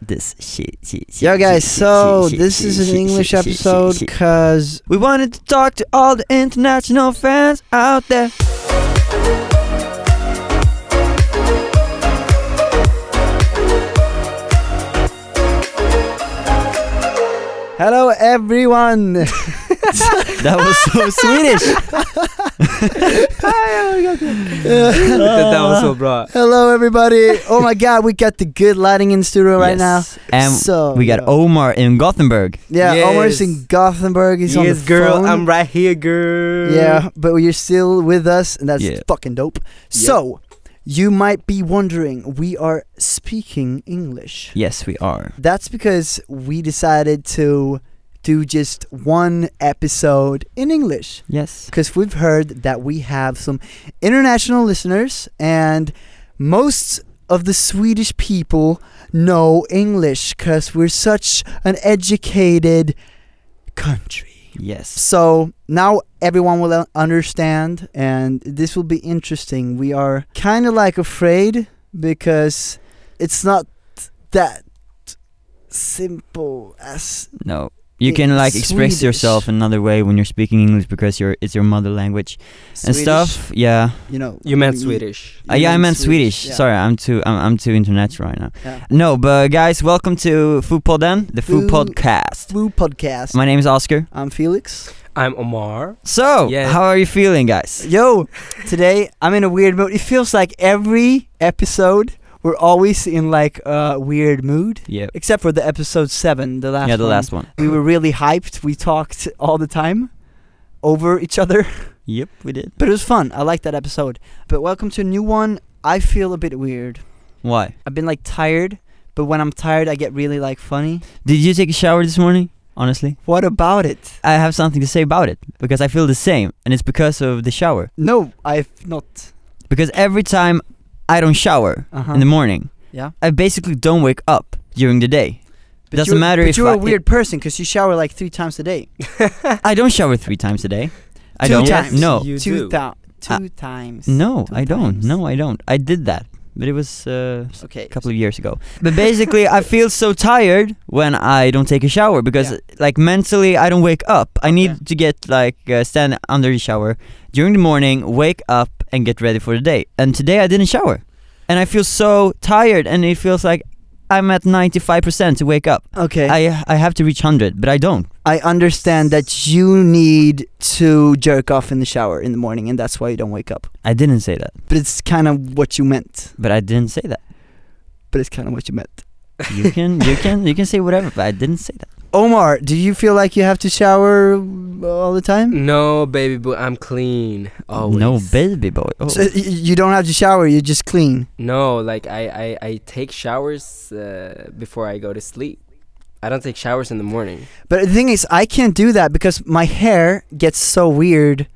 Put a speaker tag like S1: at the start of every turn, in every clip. S1: this shit. shit, shit
S2: Yo,
S1: shit,
S2: guys, so
S1: shit,
S2: this
S1: shit,
S2: is an
S1: shit,
S2: English
S1: shit, shit, shit,
S2: episode
S1: shit.
S2: because we wanted to talk to all the international fans out there. Hello, everyone.
S1: That was so Swedish!
S2: oh
S3: det var så bra.
S2: Hello, everybody. Oh my God, we got the good lighting in studio right now.
S1: Yes. And
S2: so
S1: we got
S2: yeah.
S1: Omar in Gothenburg.
S2: Yeah,
S3: Yes.
S2: Omar's in Gothenburg. He's on the
S3: yes girl,
S2: phone.
S3: I'm right here girl.
S2: Yeah, but you're still with us, and that's
S1: Yeah.
S2: fucking dope. So, you might be wondering, we are speaking English.
S1: Yes, we are.
S2: That's because we decided to do just one episode in English.
S1: Yes.
S2: Because we've heard that we have some international listeners, and most of the Swedish people know English because we're such an educated country.
S1: Yes.
S2: So now everyone will understand, and this will be interesting. We are kind of like afraid because it's not that simple as
S1: No. You can like express
S2: Swedish.
S1: yourself another way when you're speaking English because you're, it's your mother language and
S2: Swedish,
S1: stuff. Yeah.
S2: You know,
S3: You meant
S2: we-
S3: Swedish.
S1: Uh, yeah, I meant Swedish. Sorry, I'm too I'm, I'm too international right now.
S2: Yeah.
S1: No, but guys, welcome to Foodpodden, the food
S2: Food-
S1: podcast.
S2: Flu podcast.
S1: My name is Oscar.
S2: I'm Felix.
S3: I'm Omar.
S1: So,
S3: Yeah.
S1: how are you feeling, guys?
S2: Yo, today I'm in a weird mood. It feels like every episode we're always in like a weird mood,
S1: Yep.
S2: except for the episode seven, the last
S1: yeah, the
S2: one.
S1: last one.
S2: we were really hyped. We talked all the time over each other,
S1: Yep, we did.
S2: but it was fun. I liked that episode. But welcome to a new one. I feel a bit weird.
S1: Why?
S2: I've been like tired, but when I'm tired, I get really like funny.
S1: Did you take a shower this morning? Honestly,
S2: What about it?
S1: I have something to say about it because I feel the same, and it's because of the shower.
S2: No, I've not.
S1: Because every time I don't shower
S2: Uh-huh.
S1: in the morning,
S2: Yeah.
S1: I basically don't wake up during the day.
S2: But
S1: doesn't
S2: you're-
S1: matter
S2: But
S1: if
S2: you're
S1: I-
S2: a weird person because you shower like three times a day. Uh,
S1: I don't shower three times a day. I
S2: two
S1: don't.
S2: Times.
S1: No,
S3: You
S2: two
S3: do.
S2: thou-
S1: Uh,
S2: two times.
S1: no,
S2: Two
S1: I don't.
S2: times.
S1: No, I don't. I did that, but it was uh, s-
S2: Okay.
S1: a couple of years ago. But basically, I feel so tired when I don't take a shower because,
S2: Yeah.
S1: like, mentally, I don't wake up. I need
S2: Okay.
S1: to get like uh, stand under the shower during the morning, wake up, and get ready for the day. And today I didn't shower, and I feel so tired, and it feels like I'm at 95% to wake up.
S2: Okay.
S1: I I have to reach 100, but I don't.
S2: I understand that you need to jerk off in the shower in the morning, and that's why you don't wake up.
S1: I didn't say that,
S2: But it's kind of what you meant.
S1: but I didn't say that.
S2: But it's kind of what you meant.
S1: You can you can you can say whatever, but I didn't say that.
S2: Omar, do you feel like you have to shower all the time?
S3: No baby boo, I'm clean. Always.
S1: No baby boy. Oh.
S2: So y- you don't have to shower, you just clean.
S3: No, like I, I, I take showers uh, before I go to sleep. I don't take showers in the morning.
S2: But the thing is, I can't do that because my hair gets so weird.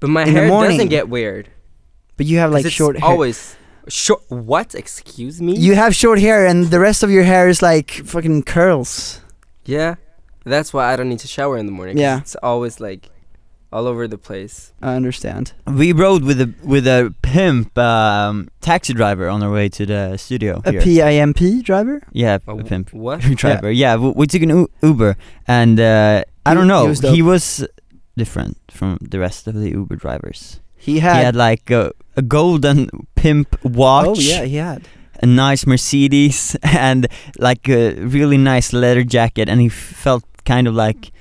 S3: But my
S2: In the
S3: hair
S2: morning.
S3: doesn't get weird. 'cause
S2: But you have like
S3: it's
S2: short hair.
S3: Always short. What? Excuse me.
S2: You have short hair, and the rest of your hair is like fucking curls.
S3: yeah. That's why I don't need to shower in the morning. 'cause
S2: Yeah.
S3: It's always like all over the place.
S2: I understand.
S1: We rode with a with a pimp um, taxi driver on our way to the studio.
S2: A
S1: here.
S2: PIMP driver?
S1: yeah,
S3: Oh,
S1: a pimp
S3: What?
S1: driver. Yeah, we, we took an U- Uber, and uh, I
S2: He-
S1: don't know.
S2: he
S1: He
S2: was
S1: was,
S2: dope.
S1: different from the rest of the Uber drivers.
S2: He had.
S1: he had like a, a golden pimp watch,
S2: oh, yeah, he had.
S1: a nice Mercedes, and like a really nice leather jacket, and he f- felt kind of like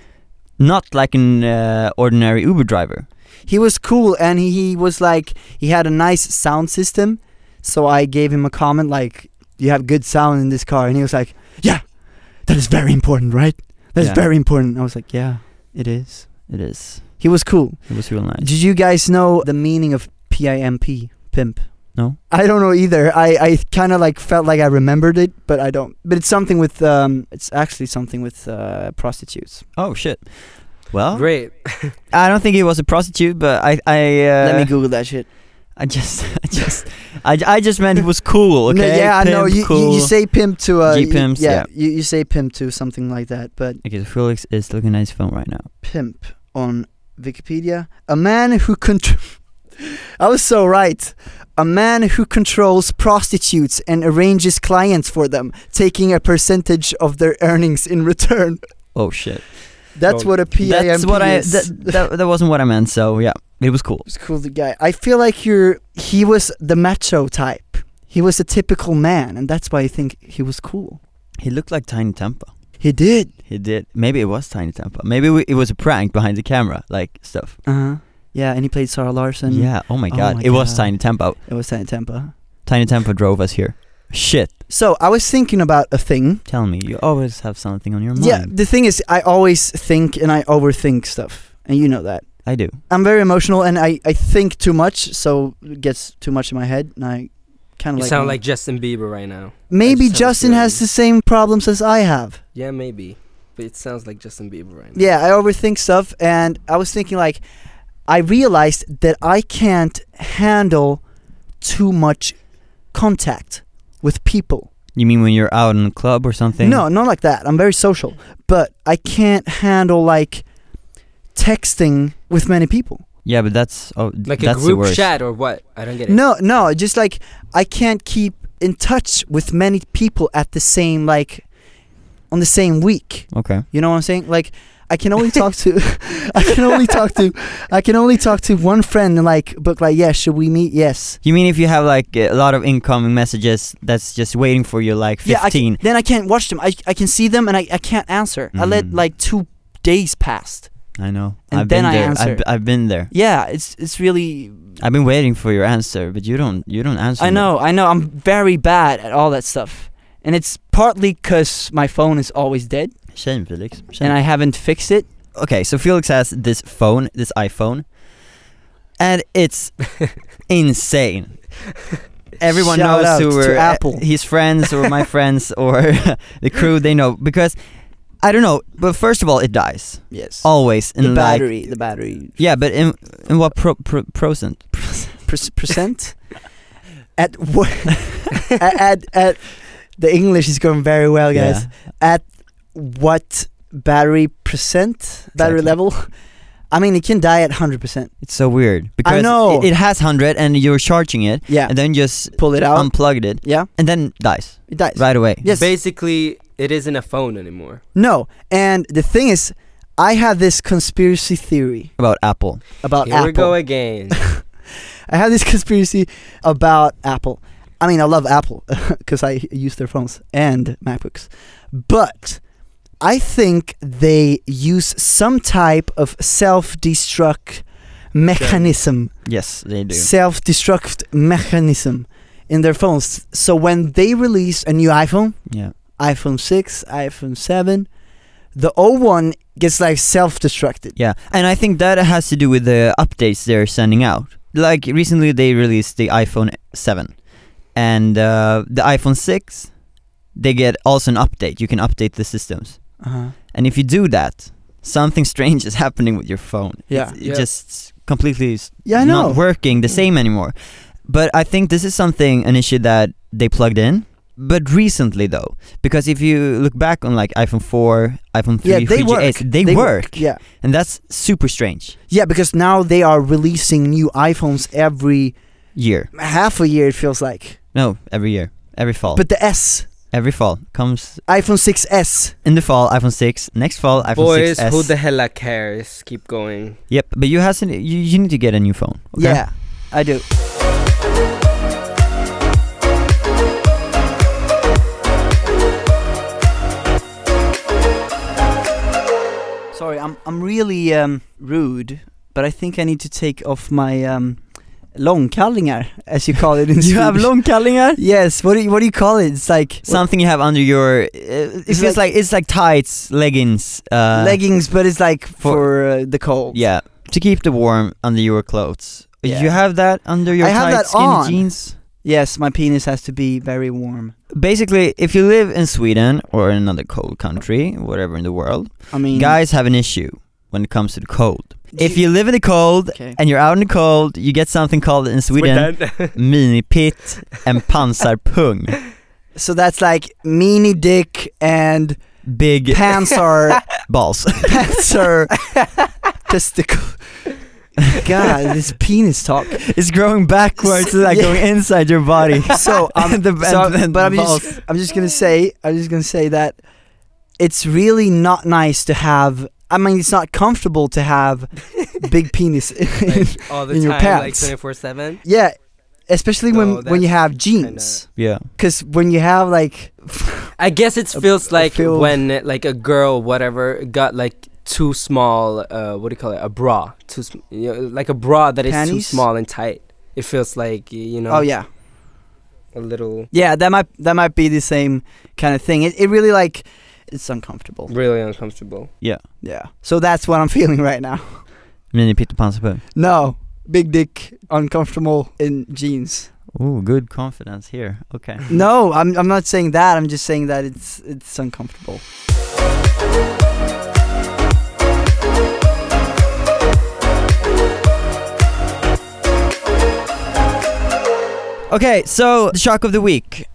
S1: not like an uh, ordinary Uber driver.
S2: he was cool and he, he was like he had a nice sound system so i gave him a comment like you have good sound in this car and he was like yeah that is very important right that's
S1: Yeah.
S2: very important i was like yeah it is
S1: It is.
S2: he was cool
S1: It was real nice.
S2: did you guys know the meaning of pimp pimp
S1: No.
S2: i don't know either i, I kind of like felt like i remembered it but i don't but it's something with um it's actually something with uh prostitutes
S1: Oh shit. Well,
S3: Great.
S1: I don't think he was a prostitute, but I, I, uh,
S2: let me google that shit
S1: I just, I just, I, I just meant it was cool.
S2: No,
S1: Okay.
S2: yeah, I know.
S1: Pimp,
S2: You, you,
S1: cool.
S2: you say pimp to uh, you-
S1: G-pimps, yeah.
S2: You, you say pimp to something like that, but
S1: okay, so Felix is looking at his phone right now.
S2: pimp on Wikipedia, a man who con- I was so right. A man who controls prostitutes and arranges clients for them, taking a percentage of their earnings in return.
S1: Oh shit.
S2: That's
S3: Oh,
S2: what a PIMP
S1: That's what I.
S2: is.
S1: That, that that wasn't what I meant. So yeah, it was cool.
S2: It was cool the guy. I feel like you're he was the macho type. He was a typical man and that's why I think he was cool.
S1: He looked like Tiny Tampa.
S2: He did.
S1: He did. Maybe it was Tiny Tampa. Maybe we, it was a prank behind the camera, like stuff.
S2: Uh-huh. Yeah, and he played Sarah Larson.
S1: yeah. Oh my
S2: oh
S1: god.
S2: my
S1: it was
S2: God.
S1: Tiny Tampa.
S2: It was Tiny Tampa.
S1: Tiny Tampa drove us here. Shit.
S2: So I was thinking about a thing.
S1: Tell me, you always have something on your mind.
S2: Yeah, the thing is I always think and I overthink stuff. And you know that.
S1: I do.
S2: I'm very emotional and I, I think too much, so it gets too much in my head and I kinda
S3: You
S2: like
S3: sound like Justin Bieber right now.
S2: Maybe
S3: that sounds
S2: Justin
S3: good.
S2: has the same problems as I have.
S3: Yeah, maybe. But it sounds like Justin Bieber right now.
S2: Yeah, I overthink stuff, and I was thinking like, I realized that I can't handle too much contact with people.
S1: You mean when you're out in a club or something?
S2: No, not like that. I'm very social, but I can't handle like texting with many people.
S1: Yeah, but that's oh,
S3: Like
S1: that's
S3: a
S1: the
S3: group
S1: worst.
S3: chat or what? I don't get it.
S2: No, no, just like I can't keep in touch with many people at the same like on the same week.
S1: Okay.
S2: You know what I'm saying? Like I can only talk to I can only talk to I can only talk to one friend and like but like yeah, should we meet? Yes.
S1: You mean if you have like a lot of incoming messages that's just waiting for you, like
S2: Yeah, I
S1: fifteen?
S2: can, then I can't watch them. I, I can see them and I, I can't answer. I let
S3: Mm.
S1: Mhm.
S2: like two days past.
S1: I, know.
S2: And
S1: I've
S2: then
S1: been
S2: I
S1: there.
S2: answer.
S1: I've, I've been there.
S2: Yeah, it's it's really
S1: I've been waiting for your answer, but you don't. You don't answer.
S2: I
S1: me.
S2: know, I know I'm very bad at all that stuff. And it's partly cuz my phone is always dead
S1: Shame, Felix. Shame.
S2: and I haven't fixed it.
S1: okay, so Felix has this phone, this iPhone, and it's insane. Everyone
S2: Shout
S1: knows
S2: out
S1: who
S2: to
S1: we're uh,
S2: Apple.
S1: his friends or my friends or the crew. They know because I don't know. But first of all, it dies
S2: Yes.
S1: always.
S2: the
S1: in like-
S2: battery, the battery
S1: yeah, but in in what pro, pro, percent?
S2: per- percent at what at, at at the English is going very well, Oh, guys. At what battery percent battery
S1: Exactly.
S2: level? I mean, it can die at hundred percent.
S1: It's so weird because it-
S2: know.
S1: It, has hundred and you're charging it
S2: Yeah, Um,
S1: and then just
S2: pull it out.
S1: unplugged it
S2: yeah,
S1: and then dies
S2: it dies.
S1: right away.
S2: Yes.
S3: Basically, it isn't a phone anymore.
S2: No, and the thing is, I have this conspiracy theory
S1: About Apple.
S2: about
S3: Here
S2: Uh, Apple.
S3: we go again.
S2: I have this conspiracy about Apple. I mean, I love Apple because I use their phones and MacBooks. But I think they use some type of self destruct mechanism,
S1: Yes, they do.
S2: self destruct mechanism in their phones. So when they release a new iPhone,
S1: Yeah.
S2: iPhone 6, iPhone 7, the old one gets like self destructed.
S1: Yeah, and I think that has to do with the updates they're sending out. Like recently, they released the iPhone 7 and uh, the iPhone 6. They get also an update. You can update the systems,
S2: Uh-huh.
S1: and if you do that, something strange is happening with your phone.
S2: Yeah.
S1: it's,
S3: Yeah.
S1: it just completely is
S2: Yeah, I know.
S1: not working the same anymore. But I think this is something an issue that they plugged in. But recently, though, because if you look back on like iPhone 4, iPhone 3,
S2: Yeah, they
S1: 3GS,
S2: work.
S1: they, work,
S2: Yeah.
S1: and that's super strange.
S2: Yeah, because now they are releasing new iPhones every
S1: Year.
S2: half a year. It feels like,
S1: No, every year, every fall. But
S2: but the S
S1: every fall comes
S2: iPhone 6s.
S1: in the fall. iPhone six, next fall iPhone
S3: Boys,
S1: 6s.
S3: who the hell cares? Keep going.
S1: yep, but you hasn't. You, you need to get a new phone. Okay?
S2: Yeah, I do. Sorry, I'm I'm really um, rude, but I think I need to take off my um, långkallingar, as you call it in
S1: You have
S2: Swedish.
S1: långkallingar.
S2: Yes. What do you what do you call it? It's like
S1: Something you have under your. Uh, it
S2: It's
S1: feels like, it's like tights, leggings. Uh,
S2: leggings, but it's like for,
S1: for-
S2: uh, the cold.
S1: Yeah, to keep the warm under your clothes.
S2: Yeah.
S1: You have that under your
S2: I have
S1: tight
S2: that
S1: skinny
S2: on.
S1: jeans.
S2: Yes, my penis has to be very warm.
S1: Basically, if you live in Sweden or in another cold country, whatever in the world,
S2: I mean,
S1: guys have an issue when it comes to the cold.
S2: Mm. Do
S1: if you live in the cold
S2: Okay.
S1: and you're out in the cold, you get something called in Sweden minipitt and pansarpung.
S2: So that's like mini dick and
S1: Big
S2: pants are
S1: balls.
S2: pants are testicle. God, this penis talk.
S1: It's growing backwards, like
S2: Yeah.
S1: going inside your body.
S2: So, I'm,
S1: And the-
S2: so
S1: and
S2: I'm-
S1: the
S2: but I'm
S1: balls.
S2: just, I'm just gonna say, I'm just gonna say that it's really not nice to have. I mean, it's not comfortable to have big penis.
S3: like, all the
S2: in
S3: time,
S2: your
S3: like
S2: pants.
S3: twenty four seven.
S2: yeah, especially
S3: No,
S2: when when you
S3: that's
S2: have
S3: kinda-
S2: jeans,
S1: Yeah.
S2: because when you have like,
S3: I guess it
S2: A-
S3: feels
S2: a
S3: like
S2: filled-
S3: when uh, like a girl, whatever, got like too small. Uh, what do you call it? A bra, too sm- you know, like a bra that is too
S2: Panties?
S3: small and tight. It feels like y- you know.
S2: oh yeah,
S3: A little
S2: yeah, that might that might be the same kind of thing. It it really like, it's uncomfortable.
S3: really uncomfortable.
S2: Yeah, so that's what I'm feeling right now.
S1: Mini Peter Panserpung.
S2: No, big dick, uncomfortable in jeans.
S1: Ooh, good confidence here. Okay.
S2: No, I'm I'm not saying that. I'm just saying that it's it's uncomfortable.
S1: Okay, so the shock of the week.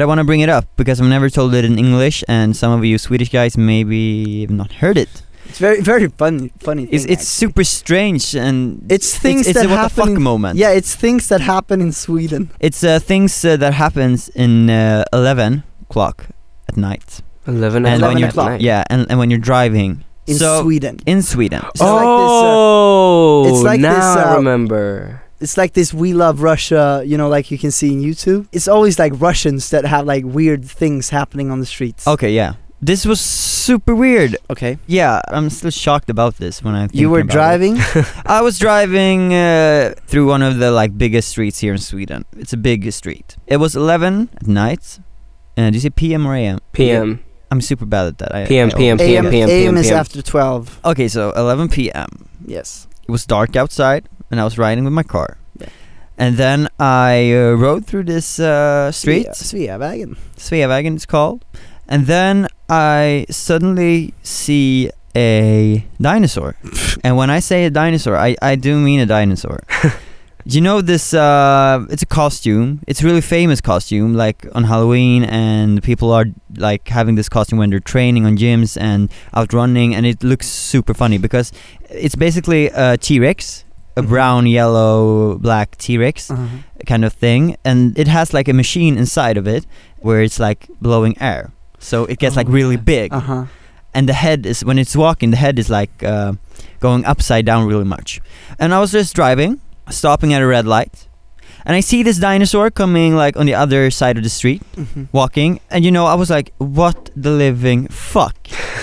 S1: I want to bring it up because I've never told it in English, and some of you Swedish guys maybe have not heard it.
S2: It's very very funny funny.
S1: It's,
S2: thing,
S1: it's super strange and
S2: It's things
S1: it's, it's
S2: that
S1: a what the
S2: happen
S1: fuck
S2: in-
S1: moment.
S2: actually. yeah, it's things that happen in Sweden.
S1: It's uh, things uh, that happens in uh, eleven o'clock at night.
S3: Eleven
S1: And
S2: when you're-
S3: o'clock.
S1: Yeah, and, and when you're driving.
S2: In
S1: so
S2: Sweden,
S1: in Sweden.
S2: It's like this, uh,
S3: oh,
S2: it's like
S3: now
S2: this,
S3: I
S2: uh,
S3: remember.
S2: it's like this "We Love Russia," you know, like you can see in YouTube. It's always like Russians that have like weird things happening on the streets.
S1: Okay, yeah. This was super weird.
S2: okay.
S1: Yeah, I'm still shocked about this when I think
S2: You were
S1: about it.
S2: driving.
S1: I was driving uh, through one of the like biggest streets here in Sweden. It's a big street. It was 11 at night. And do you say PM or AM?
S3: PM.
S1: I'm super bad at that. I,
S3: PM,
S1: I
S3: PM,
S1: always
S2: AM,
S1: forget.
S3: PM,
S2: AM is
S3: PM.
S2: after twelve.
S1: Okay, so 11 PM.
S2: Yes.
S1: It was dark outside, and I was riding with my car.
S2: Yeah.
S1: And then I uh, rode through this uh, street.
S2: Sveavägen.
S1: Sveavägen it's called. And then I suddenly see a dinosaur. and when I say a dinosaur, I, I do mean a dinosaur. you know this uh, it's a costume. It's a really famous costume like on Halloween and people are like having this costume when they're training on gyms and out running and it looks super funny because it's basically a T-Rex, a
S2: Mhm.
S1: brown, yellow, black T-Rex kind of thing and it has like a machine inside of it where it's like blowing air so it gets like
S2: Oh,
S1: really
S2: yeah.
S1: big
S2: Uh huh.
S1: and the head is when it's walking the head is like uh, going upside down really much and i was just driving stopping at a red light and i see this dinosaur coming like on the other side of the street walking and you know i was like what the living fuck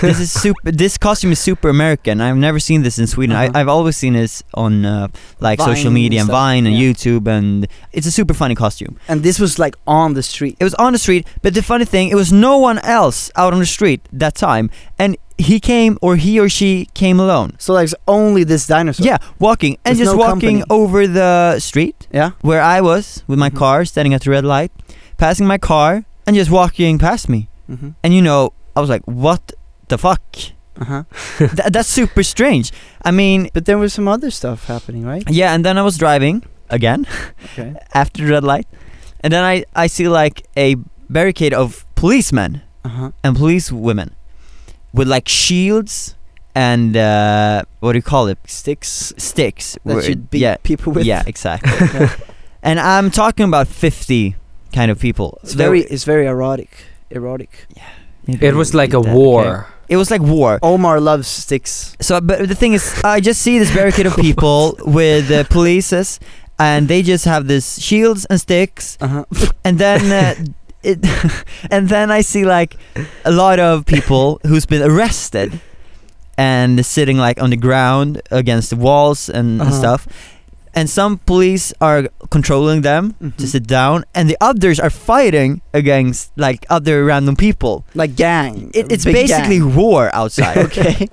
S1: this is super this costume is super american i've never seen this in sweden
S2: Uh-huh.
S1: I, i've always seen this on uh, like social
S2: Vine
S1: media and
S2: stuff,
S1: vine and
S2: yeah.
S1: youtube and it's a super funny costume
S2: And this was like on the street.
S1: it was on the street, but the funny thing, it was no one else out on the street that time. And he came, or he or she came alone.
S2: So like it's only this dinosaur.
S1: Yeah, walking and
S2: With
S1: just
S2: no
S1: walking
S2: company.
S1: over the street
S2: Yeah.
S1: where I was with my
S2: Mhm.
S1: car, standing at the red light, passing my car, and just walking past me.
S2: Mm-hmm.
S1: And you know, I was like, what the fuck?
S2: Uh huh.
S1: Th- that's super strange. I mean,
S2: But there was some other stuff happening, right?
S1: yeah, and then I was driving again.
S2: Okay.
S1: after the red light. And then I, I see like a barricade of policemen
S2: Uh-huh.
S1: and police women with like shields and uh, what do you call it?
S2: Sticks
S1: Sticks.
S2: that
S1: Where-
S2: you beat
S1: yeah,
S2: people with.
S1: yeah, exactly.
S2: Yeah.
S1: and I'm talking about 50 kind of people.
S2: It's
S1: There-
S2: very it's very erotic. Erotic.
S1: Maybe
S3: It was
S1: we
S3: like
S1: did
S3: a
S1: that, okay?
S3: war.
S1: It was like war.
S2: Omar loves sticks.
S1: So, but the thing is, I just see this barricade of people with uh, polices, and they just have this shields and sticks,
S2: Uh-huh.
S1: and then uh, it, and then I see like a lot of people who's been arrested and sitting like on the ground against the walls and, and
S2: Uh-huh.
S1: stuff. And some police are controlling them to sit down, and the others are fighting against like other random people.
S2: Like gang.
S1: It, it's
S2: Big
S1: basically
S2: gang.
S1: war outside.
S2: okay.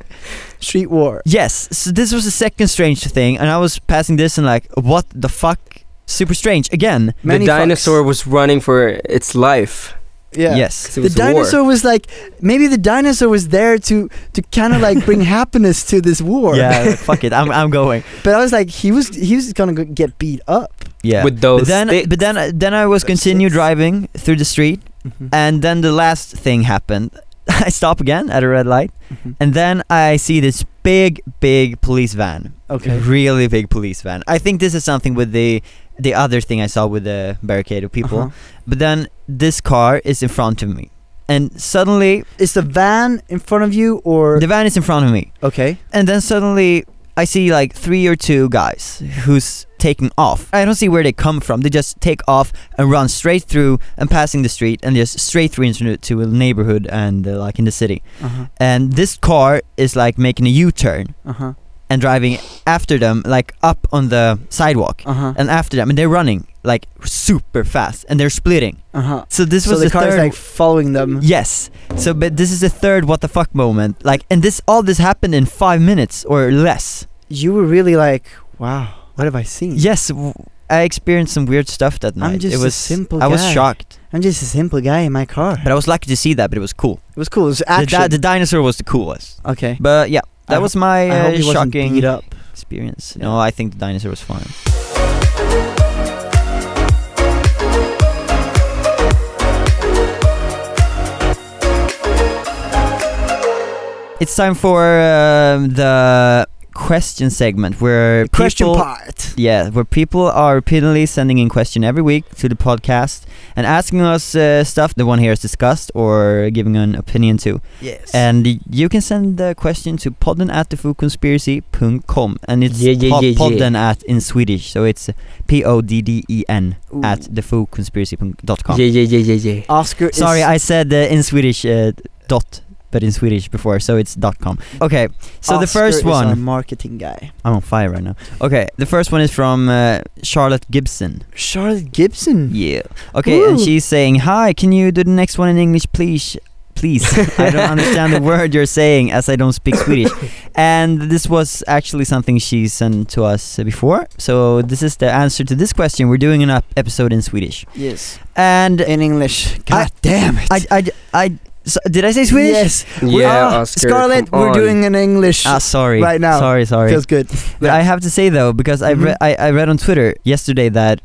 S2: Street war.
S1: Yes, so this was the second strange thing, and I was passing this and like, what the fuck? Super strange again.
S2: Many
S3: the dinosaur
S2: fucks.
S3: was running for its life.
S2: Yeah.
S1: Yes.
S3: 'cause It
S2: The
S3: was a war.
S2: dinosaur was like maybe the dinosaur was there to to kind of like bring happiness to this war.
S1: Yeah. fuck it. I'm I'm going.
S2: But I was like he was he was gonna go get beat up.
S1: Yeah.
S3: with
S1: but
S3: those
S1: then,
S3: sticks.
S1: but then, uh, then I was
S2: Those
S1: continue
S2: sticks.
S1: driving through the street, and then the last thing happened. I stop again at a red light,
S2: Mhm.
S1: and then I see this big, big police van
S2: Okay.
S1: Really big police van. I think this is something with the the other thing I saw with the barricade of people.
S2: Uh-huh.
S1: But then this car is in front of me. And suddenly
S2: Is the van in front of you or
S1: the van is in front of me.
S2: okay?
S1: And then suddenly I see like three or two guys who's taking off. I don't see where they come from. They just take off and run straight through and passing the street and just straight through into to a neighborhood and uh, like in the city.
S2: Uh huh.
S1: And this car is like making a U-turn
S2: Uh huh.
S1: and driving after them like up on the sidewalk.
S2: Uh huh.
S1: And after them and they're running like super fast and they're splitting.
S2: Uh huh.
S1: So this
S2: So
S1: was
S2: the,
S1: the,
S2: car is
S1: third
S2: like following them.
S1: Yes. So, but this is the third what the fuck moment. Like, and this all this happened in five minutes or less.
S2: You were really like, wow, what have I seen?
S1: Yes, w- I experienced some weird stuff that night.
S2: Hmm. just
S1: it
S2: a
S1: was
S2: simple
S1: I was
S2: guy.
S1: shocked,
S2: I'm just a simple guy in my car.
S1: but I was lucky to see that. But it was cool.
S2: It was cool. It was
S1: The,
S2: action.
S1: di- the dinosaur was the coolest.
S2: okay.
S1: But yeah, that
S2: I
S1: was my
S2: I hope
S1: uh,
S2: he wasn't
S1: shocking
S2: beat up.
S1: experience.
S2: Yeah.
S1: No, I think the dinosaur was fine. It's time for um, the question segment where
S2: Question
S1: people,
S2: part.
S1: yeah, where people are repeatedly sending in question every week to the podcast and asking us uh, stuff the one here has discussed or giving an opinion to.
S2: Yes.
S1: And y- you can send the question to podden at thefoodconspiracy.com and it's
S3: Yeah, yeah,
S1: po-
S3: yeah, yeah.
S1: podden at in Swedish, so it's p o d d e n
S2: Ooh.
S1: at thefoodconspiracy.com.
S3: Mm. Yeah, yeah, yeah, yeah, yeah.
S2: Oscar. is-
S1: Sorry, I said uh, in Swedish uh, dot, but in Swedish before, so it's dot com. Okay, so the
S2: Oscar
S1: first
S2: is
S1: one,
S2: our marketing guy.
S1: I'm on fire right now. Okay, the first one is from uh, Charlotte Gibson.
S2: Charlotte Gibson.
S1: Yeah. Okay, and
S2: Ooh.
S1: she's saying, "Hi, can you do the next one in English, please?" Please, I don't understand the word you're saying as I don't speak Swedish. And this was actually something she sent to us uh, before. So this is the answer to this question. We're doing an up episode in Swedish.
S2: Yes.
S1: And
S2: In English.
S1: Ah,
S2: God damn it.
S1: I, I, I, so, did I say Swedish?
S2: Yes. We-
S3: Yeah,
S2: ah,
S3: Oscar.
S2: Scarlett,
S3: come
S2: we're
S3: on.
S2: doing an English.
S1: Ah, sorry.
S2: Right now.
S1: Sorry, sorry.
S2: Feels good.
S1: But I have to say though, because I, re-
S2: Mhm.
S1: I I read on Twitter yesterday that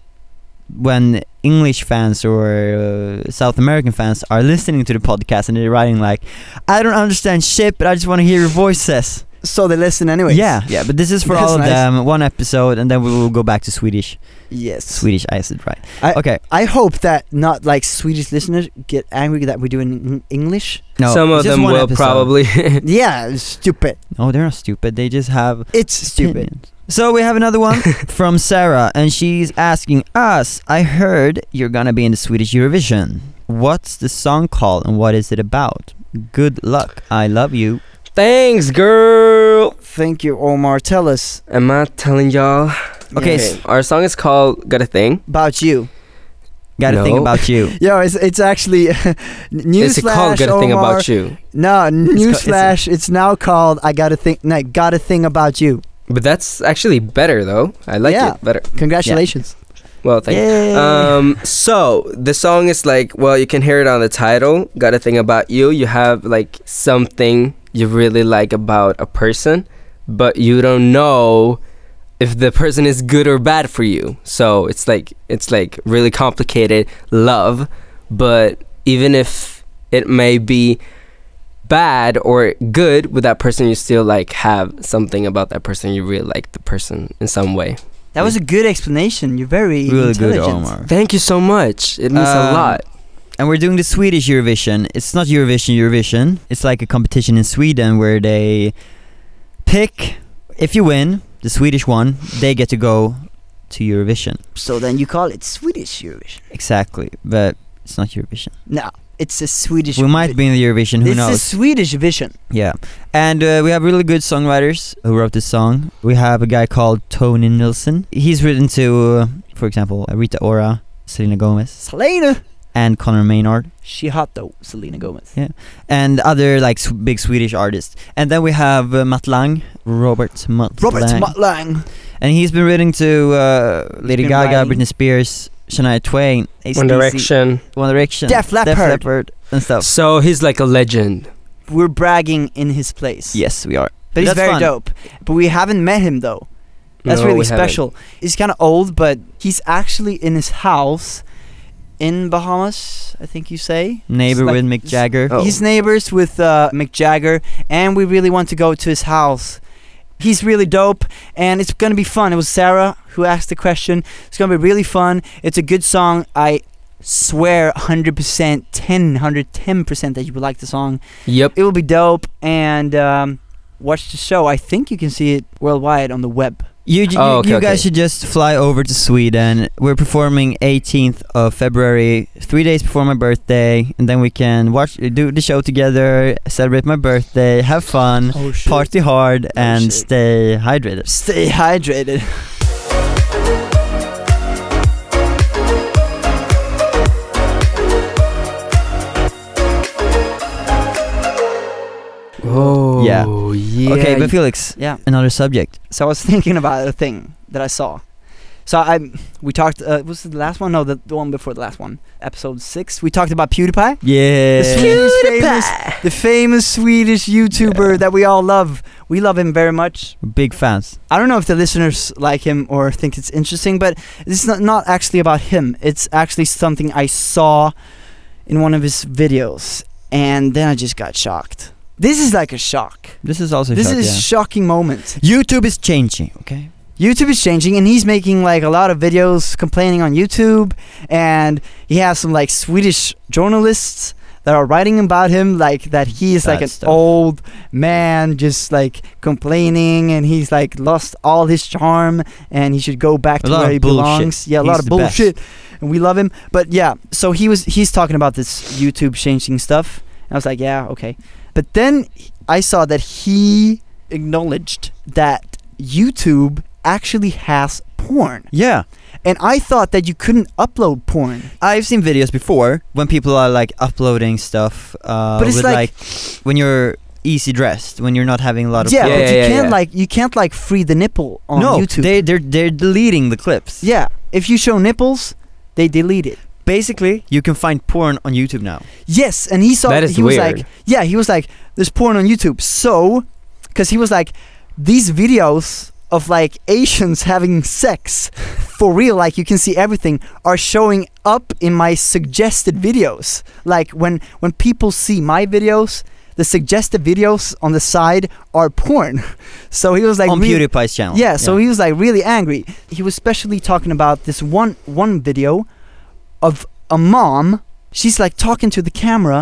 S1: when English fans or uh, South American fans are listening to the podcast and they're writing like, "I don't understand shit, but I just want to hear your voices."
S2: So they listen anyways.
S1: Yeah, yeah. But this is for
S2: That's
S1: all of
S2: nice.
S1: them, one episode, and then we will go back to Swedish.
S2: Yes.
S1: Swedish, I said right.
S2: I-
S1: okay,
S2: I hope that not like Swedish listeners get angry that we do in Eng- English.
S1: no,
S3: Some of
S1: just
S3: them
S1: one
S3: will
S1: episode.
S3: probably.
S2: yeah, it's stupid.
S1: No, they're not stupid. They just have
S2: It's stupid.
S1: Opinions. So we have another one from Sarah, and she's asking us I heard you're gonna be in the Swedish Eurovision. What's the song called and what is it about? Good luck. I love you.
S3: Thanks, girl.
S2: Thank you, Omar. Tell us
S3: Am I telling y'all?
S1: Okay,
S2: Yes.
S1: s-
S3: Our song is called "Got a Thing."
S2: about you.
S1: Got to think
S3: No.
S1: about you.
S2: Yeah, it's it's actually newsflash.
S3: it's called "Got a Thing
S2: Omar.
S3: About You,"
S2: No,
S1: it's-
S2: newsflash. It's, now called I got a thing. No, got a thing about you.
S3: but that's actually better though. I like
S2: Yeah.
S3: it better.
S2: Congratulations.
S3: Well, thank
S2: Eh.
S1: Yay.
S3: Um, so the song is like, well, you can hear it on the title. Got a thing about you. You have like something you really like about a person, but you don't know if the person is good or bad for you. So it's like it's like really complicated love, but even if it may be bad or good with that person, you still like have something about that person. You really like the person in some way.
S2: That was a good explanation. You're very
S1: Really good,
S2: intelligent.
S1: Omar.
S3: Thank you so much. It means a
S1: Um,
S3: lot.
S1: And we're doing the Swedish Eurovision. It's not Eurovision, Eurovision. It's like a competition in Sweden where they pick, if you win, the Swedish one, they get to go to Eurovision.
S2: So then you call it Swedish Eurovision.
S1: Exactly, but it's not Eurovision.
S2: No, it's a Swedish.
S1: We might
S2: vi-
S1: be in the Eurovision, who
S2: This
S1: knows?
S2: is Swedish vision.
S1: Yeah, and uh, we have really good songwriters who wrote this song. We have a guy called Tony Nilsson. He's written to, uh, for example, Rita Ora, Selena Gomez,
S2: Selena.
S1: and Connor Maynard,
S2: She hot though. Selena Gomez.
S1: and other like s- big Swedish artists. And then we have uh, Matt Lang, Robert Matt
S2: Robert
S1: Lang,
S2: Matlang.
S1: and he's been written to uh, Lady
S2: been
S1: Gaga,
S2: writing.
S1: Britney Spears, Shania Twain, AC/DC,
S3: One Direction.
S1: One Direction,
S2: Def Leppard.
S1: Leppard, and stuff.
S3: So he's like a legend.
S2: We're bragging in his place.
S1: Yes, we are.
S2: But he's
S1: That's
S2: very
S1: fun.
S2: dope. But we haven't met him though. That's
S3: No,
S2: really
S3: we haven't.
S2: special. He's kind of old, but he's actually in his house in Bahamas, I think you say.
S1: Neighbor
S2: It's like-
S1: with Mick Jagger.
S3: Oh.
S2: He's neighbors with uh, Mick Jagger, and we really want to go to his house He's really dope, and it's gonna be fun. It was Sarah who asked the question. It's gonna be really fun. It's a good song. I swear 100%, 10, 110% that you would like the song.
S3: Yep.
S2: It will be dope, and um, watch the show. I think you can see it worldwide on the web.
S1: You, you,
S3: Oh, okay,
S1: you guys
S3: okay.
S1: should just fly over to Sweden. We're performing 18th of February, three days before my birthday, and then we can watch, do the show together, celebrate my birthday, have fun,
S2: Oh shit!
S1: party hard,
S2: Oh,
S1: and
S2: shit.
S1: stay hydrated.
S2: Stay hydrated.
S3: Oh,
S1: Yeah.
S3: yeah.
S1: okay, but Felix,
S2: Yeah.
S1: another subject.
S2: So I was thinking about a thing that I saw. So I we talked. Uh, was it the last one? No, the, the one before the last one, episode six. We talked about PewDiePie,
S1: Yeah.
S2: Swedish famous, the famous Swedish YouTuber that we all love. We love him very much.
S1: Big fans.
S2: I don't know if the listeners like him or think it's interesting, but this is not, not actually about him. It's actually something I saw in one of his videos, and then I just got shocked. This is like a shock.
S1: This is also
S2: This
S1: short,
S2: is
S1: yeah.
S2: shocking moment.
S1: YouTube is changing, okay?
S2: YouTube is changing, and he's making like a lot of videos complaining on YouTube, and he has some like Swedish journalists that are writing about him, like that he is like
S1: Bad
S2: an
S1: stuff.
S2: old man, just like complaining, and he's like lost all his charm, and he should go back
S1: A
S2: to
S1: lot
S2: where
S1: of
S2: he
S1: bullshit.
S2: belongs. Yeah, a lot
S1: He's
S2: of
S1: the best.
S2: bullshit, and we love him. But yeah, so he was he's talking about this YouTube changing stuff, and I was like, yeah, okay. But then I saw that he acknowledged that YouTube actually has porn.
S1: Yeah.
S2: And I thought that you couldn't upload porn.
S1: I've seen videos before when people are like uploading stuff, uh,
S2: But it's
S1: with
S2: like-
S1: like, when you're easy dressed, when you're not having a lot of
S2: yeah,
S1: clothes.
S2: but
S3: Yeah,
S2: you
S3: yeah,
S2: can't
S3: yeah.
S2: like you can't like free the nipple on
S1: no,
S2: YouTube.
S1: they they're they're deleting the clips.
S2: yeah. If you show nipples, they delete it.
S1: basically, you can find porn on YouTube now.
S2: Yes, and he saw
S3: That is
S2: he was
S3: weird.
S2: like yeah, he was like there's porn on YouTube. So cuz he was like these videos of like Asians having sex for real like you can see everything are showing up in my suggested videos. Like when when people see my videos, the suggested videos on the side are porn. So he was like
S1: on
S2: really-
S1: PewDiePie's channel.
S2: yeah, so he was like really angry. He was especially talking about this one one video of a mom. She's like talking to the camera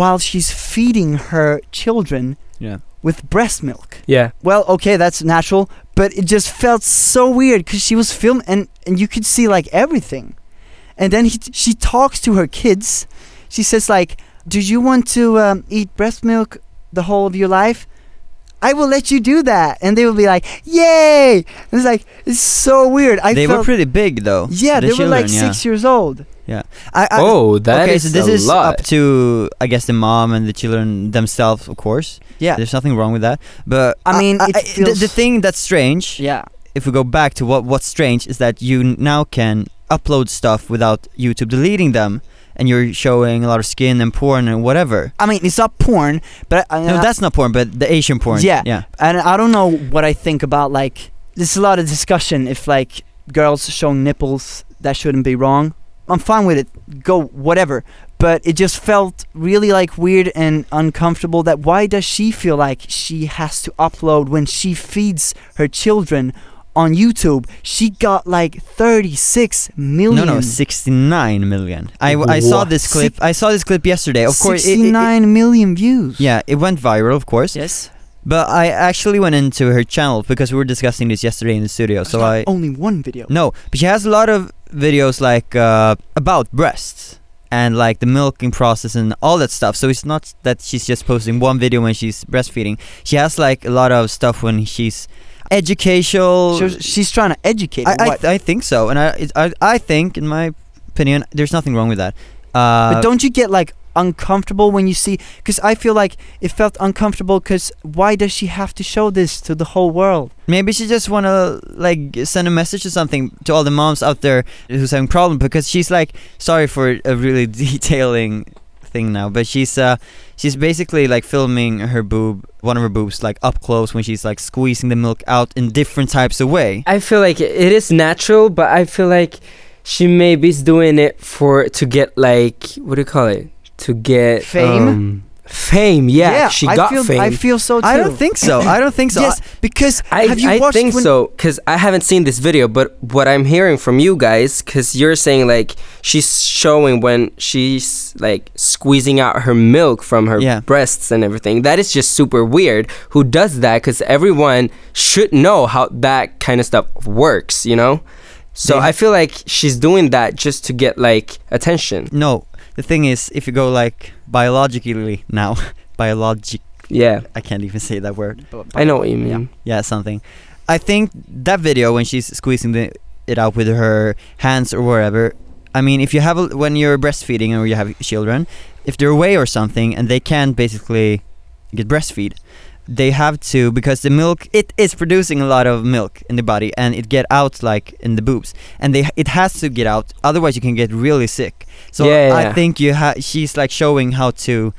S2: while she's feeding her children
S1: yeah.
S2: with breast milk.
S3: Yeah.
S2: Well, okay, that's natural, but it just felt so weird cuz she was filmed and and you could see like everything. And then he, she talks to her kids. She says like, "Do you want to um, eat breast milk the whole of your life?" I will let you do that, and they will be like, "Yay!" And it's like it's so weird. I
S1: they were
S2: felt
S1: pretty big though.
S2: yeah,
S1: the
S2: they were like
S1: children, yeah.
S2: six years old.
S1: I,
S2: uh,
S1: I,
S3: oh, that
S1: okay,
S3: is
S1: so this
S3: a
S1: is
S3: lot.
S1: up to I guess the mom and the children themselves, of course.
S2: Yeah,
S1: There's nothing wrong with that, but
S2: I mean, it
S1: the,
S2: feels-
S1: the thing that's strange,
S2: yeah,
S1: if we go back to what what's strange, is that you n- now can upload stuff without YouTube deleting them, and you're showing a lot of skin and porn and whatever.
S2: I mean, it's not porn, but I,
S1: no,
S2: I-
S1: that's not porn, but the Asian porn.
S2: Yeah.
S1: yeah.
S2: and I don't know what I think about like there's a lot of discussion if like girls showing nipples that shouldn't be wrong. I'm fine with it. Go whatever. But it just felt really like weird and uncomfortable that why does she feel like she has to upload when she feeds her children on YouTube? She got like 36 million.
S1: No, no, 69 million. I, I saw
S3: What?
S1: this clip. I saw this clip yesterday. Of course, it- it- it-
S2: 69 million views.
S1: yeah, it went viral, of course.
S2: Yes.
S1: But I actually went into her channel because we were discussing this yesterday in the studio. So I
S2: only one video.
S1: no, but she has a lot of videos like uh, about breasts and like the milking process and all that stuff. So it's not that she's just posting one video when she's breastfeeding. She has like a lot of stuff when she's educational.
S2: She was- she's trying to educate.
S1: I, I,
S2: what?
S1: th- I think so, and I, it, I I think, in my opinion, there's nothing wrong with that. Uh,
S2: But don't you get like uncomfortable when you see? Because I feel like it felt uncomfortable. Because why does she have to show this to the whole world?
S1: maybe she just want to like send a message or something to all the moms out there who's having problem because she's like sorry for a really detailing thing now, but she's uh she's basically like filming her boob, one of her boobs, like up close when she's like squeezing the milk out in different types of way.
S3: I feel like it is natural, but I feel like she maybe is doing it for to get like what do you call it? To get
S2: Fame?
S3: um, Fame, yeah, she
S2: I
S3: got
S2: feel,
S3: fame.
S2: I feel so too.
S1: I don't think so. I don't think so.
S2: Yes, because
S3: I,
S2: have you
S3: I
S2: watched
S3: think
S2: when-
S3: so because I haven't seen this video, but what I'm hearing from you guys, because you're saying like she's showing when she's like squeezing out her milk from her
S1: Yeah.
S3: breasts and everything. That is just super weird. Who does that? Because everyone should know how that kind of stuff works, you know. So
S1: They-
S3: I feel like she's doing that just to get like attention.
S1: No, the thing is, if you go like biologically now, biologic,
S3: Yeah,
S1: I can't even say that word.
S3: I know what you mean.
S1: Yeah, something. I think that video when she's squeezing the, it out with her hands or wherever. I mean, if you have a, when you're breastfeeding or you have children, if they're away or something and they can't basically get breastfeed, they have to because the milk it is producing a lot of milk in the body and it get out like in the boobs and they it has to get out otherwise you can get really sick. So
S3: Yeah, yeah,
S1: I
S3: yeah.
S1: think you ha- she's like showing how to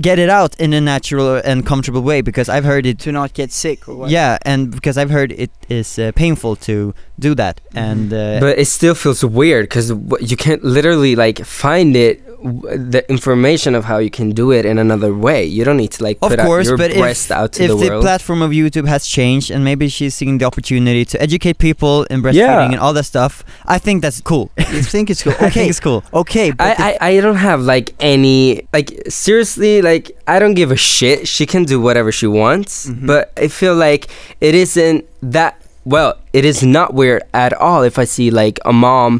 S1: get it out in a natural and comfortable way because I've heard it
S2: to not get sick or what?
S1: yeah, and because I've heard it is uh, painful to do that, and
S2: Mm-hmm.
S1: uh,
S3: but it still feels weird because you can't literally like find it w- the information of how you can do it in another way you don't need to like
S1: Of
S3: put
S1: course,
S3: out your
S1: but if-
S3: breast out to
S1: if
S3: the
S1: the,
S3: world
S1: platform of YouTube has changed, and maybe she's seeing the opportunity to educate people in breastfeeding
S3: Yeah.
S1: and all that stuff, I think that's cool.
S2: you think it's cool?
S1: I think
S2: Okay,
S1: it's cool.
S2: okay, but the-
S3: I, I, I don't have like any like seriously like I don't give a shit. She can do whatever she wants,
S2: Mhm.
S3: but I feel like it isn't that well. It is not weird at all if I see like a mom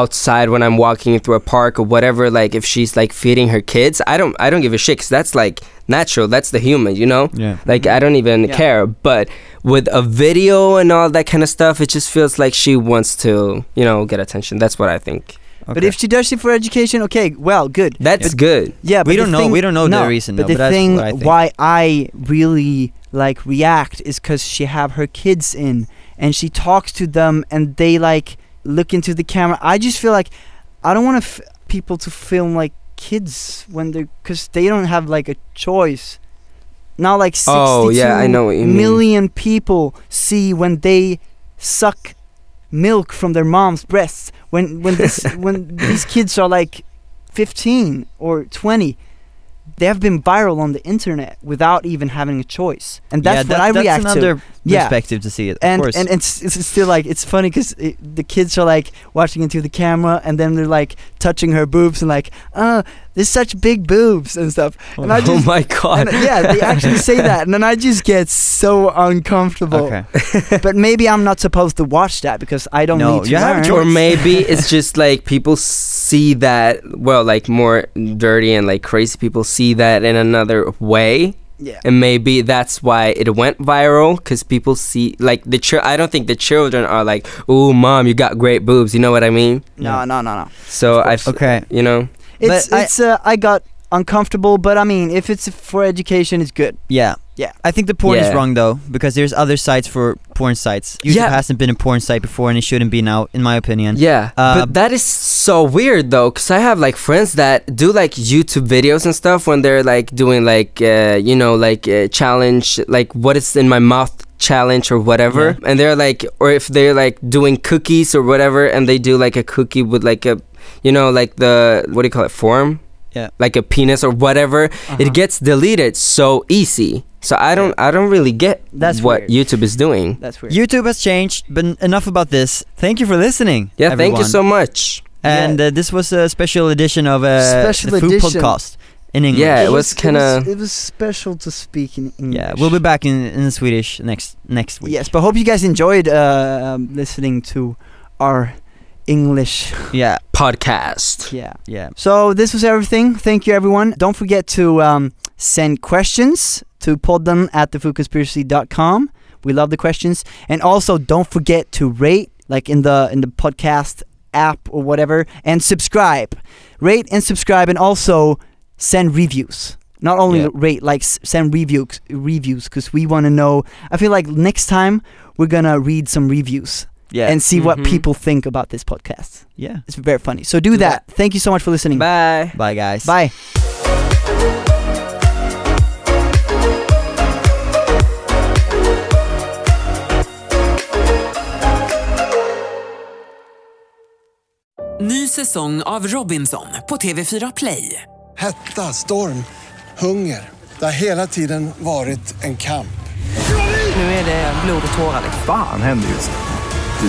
S3: outside when I'm walking through a park or whatever. Like if she's like feeding her kids, I don't I don't give a shit because that's like natural. That's the human, you know.
S1: Yeah.
S3: Like I don't even
S2: Yeah.
S3: care. But with a video and all that kind of stuff, it just feels like she wants to you know get attention. That's what I think.
S2: but if she does it for education, okay, well, good.
S3: That's good.
S2: Yeah,
S1: We
S2: but the
S1: don't know-
S2: thing-
S1: we don't know the
S2: no,
S1: reason,
S2: But
S1: though,
S2: the
S1: but that's
S2: thing
S1: what I think.
S2: why I really like react is because she have her kids in and she talks to them and they like look into the camera. I just feel like I don't want f- people to film like kids when they're because they don't have like a choice. Now like
S3: Oh,
S2: sixty-two million
S3: yeah, I know what you mean.
S2: people see when they suck milk from their mom's breasts when when this when these kids are like 15 or 20 they have been viral on the internet without even having a choice and that's
S1: yeah,
S2: what
S1: that-
S2: i
S1: that's
S2: react to
S1: another
S2: Yeah.
S1: perspective to see it. Of
S2: and,
S1: course.
S2: and it's, it's still like it's funny because the kids are like watching into the camera and then they're like touching her boobs and like oh there's such big boobs and stuff and i
S3: oh
S2: just
S3: my god.
S2: and, uh, yeah they actually say that and then i just get so uncomfortable
S1: okay.
S2: but maybe i'm not supposed to watch that because i don't
S1: No,
S2: need to
S1: you have a
S2: learn.
S1: choice.
S3: or maybe it's just like people see that well like more dirty and like crazy people see that in another way
S2: yeah
S3: and maybe that's why it went viral because people see like the chil- i don't think the children are like oh mom you got great boobs you know what i mean
S2: no no no no
S3: so i f-
S1: Okay.
S3: you know
S1: But
S2: It's
S1: I-
S2: it's uh, I got uncomfortable, but I mean, if it's for education, it's good.
S1: Yeah.
S2: Yeah.
S1: I think the porn is
S3: Yeah.
S1: wrong though, because there's other sites for porn sites. YouTube
S3: Yeah.
S1: hasn't been a porn site before, and it shouldn't be now, in my opinion.
S3: Yeah,
S1: Uh,
S3: but that is so weird though, because I have like friends that do like YouTube videos and stuff when they're like doing like uh, you know like uh, challenge, like what is in my mouth challenge or whatever, and they're like, or if they're like doing cookies or whatever, and they do like a cookie with like a, you know, like the what do you call it form,
S1: Yeah.
S3: like a penis or whatever,
S2: Uh-huh.
S3: it gets deleted so easy. So I don't, I don't really get
S2: That's
S3: what
S2: weird.
S3: YouTube is doing.
S2: That's weird.
S1: YouTube has changed, but n- enough about this. Thank you for listening.
S3: Yeah, thank you
S1: everyone.
S3: so much.
S1: And uh, this was a special edition of uh,
S2: Special
S1: the Food
S2: edition.
S1: Podcast in English.
S3: Yeah, it was kinda-
S2: it was special to speak in English.
S1: yeah. We'll be back in, in Swedish next next week.
S2: Yes, but hope you guys enjoyed uh, um, listening to our English.
S1: Yeah,
S3: Podcast.
S2: Yeah.
S1: yeah.
S2: So this was everything. Thank you, everyone. Don't forget to um, send questions to podden at thefoodconspiracy.com. We love the questions, and also don't forget to rate, like in the in the podcast app or whatever, and subscribe. Rate and subscribe, and also send reviews. Not only
S1: Yeah.
S2: rate, like s- send reviews, reviews, because we want to know. I feel like next time we're gonna read some reviews
S1: Yeah.
S2: and see what
S3: Mhm.
S2: people think about this podcast.
S1: yeah.
S2: It's very funny. So do that. Thank you so much for listening.
S3: Bye.
S1: Bye guys.
S2: Bye.
S4: Ny säsong av Robinson på TV4 Play.
S5: Hetta, storm,
S4: hunger. Det har hela tiden varit en kamp.
S5: Nu är det blod och tårar.
S6: Fan händer just nu.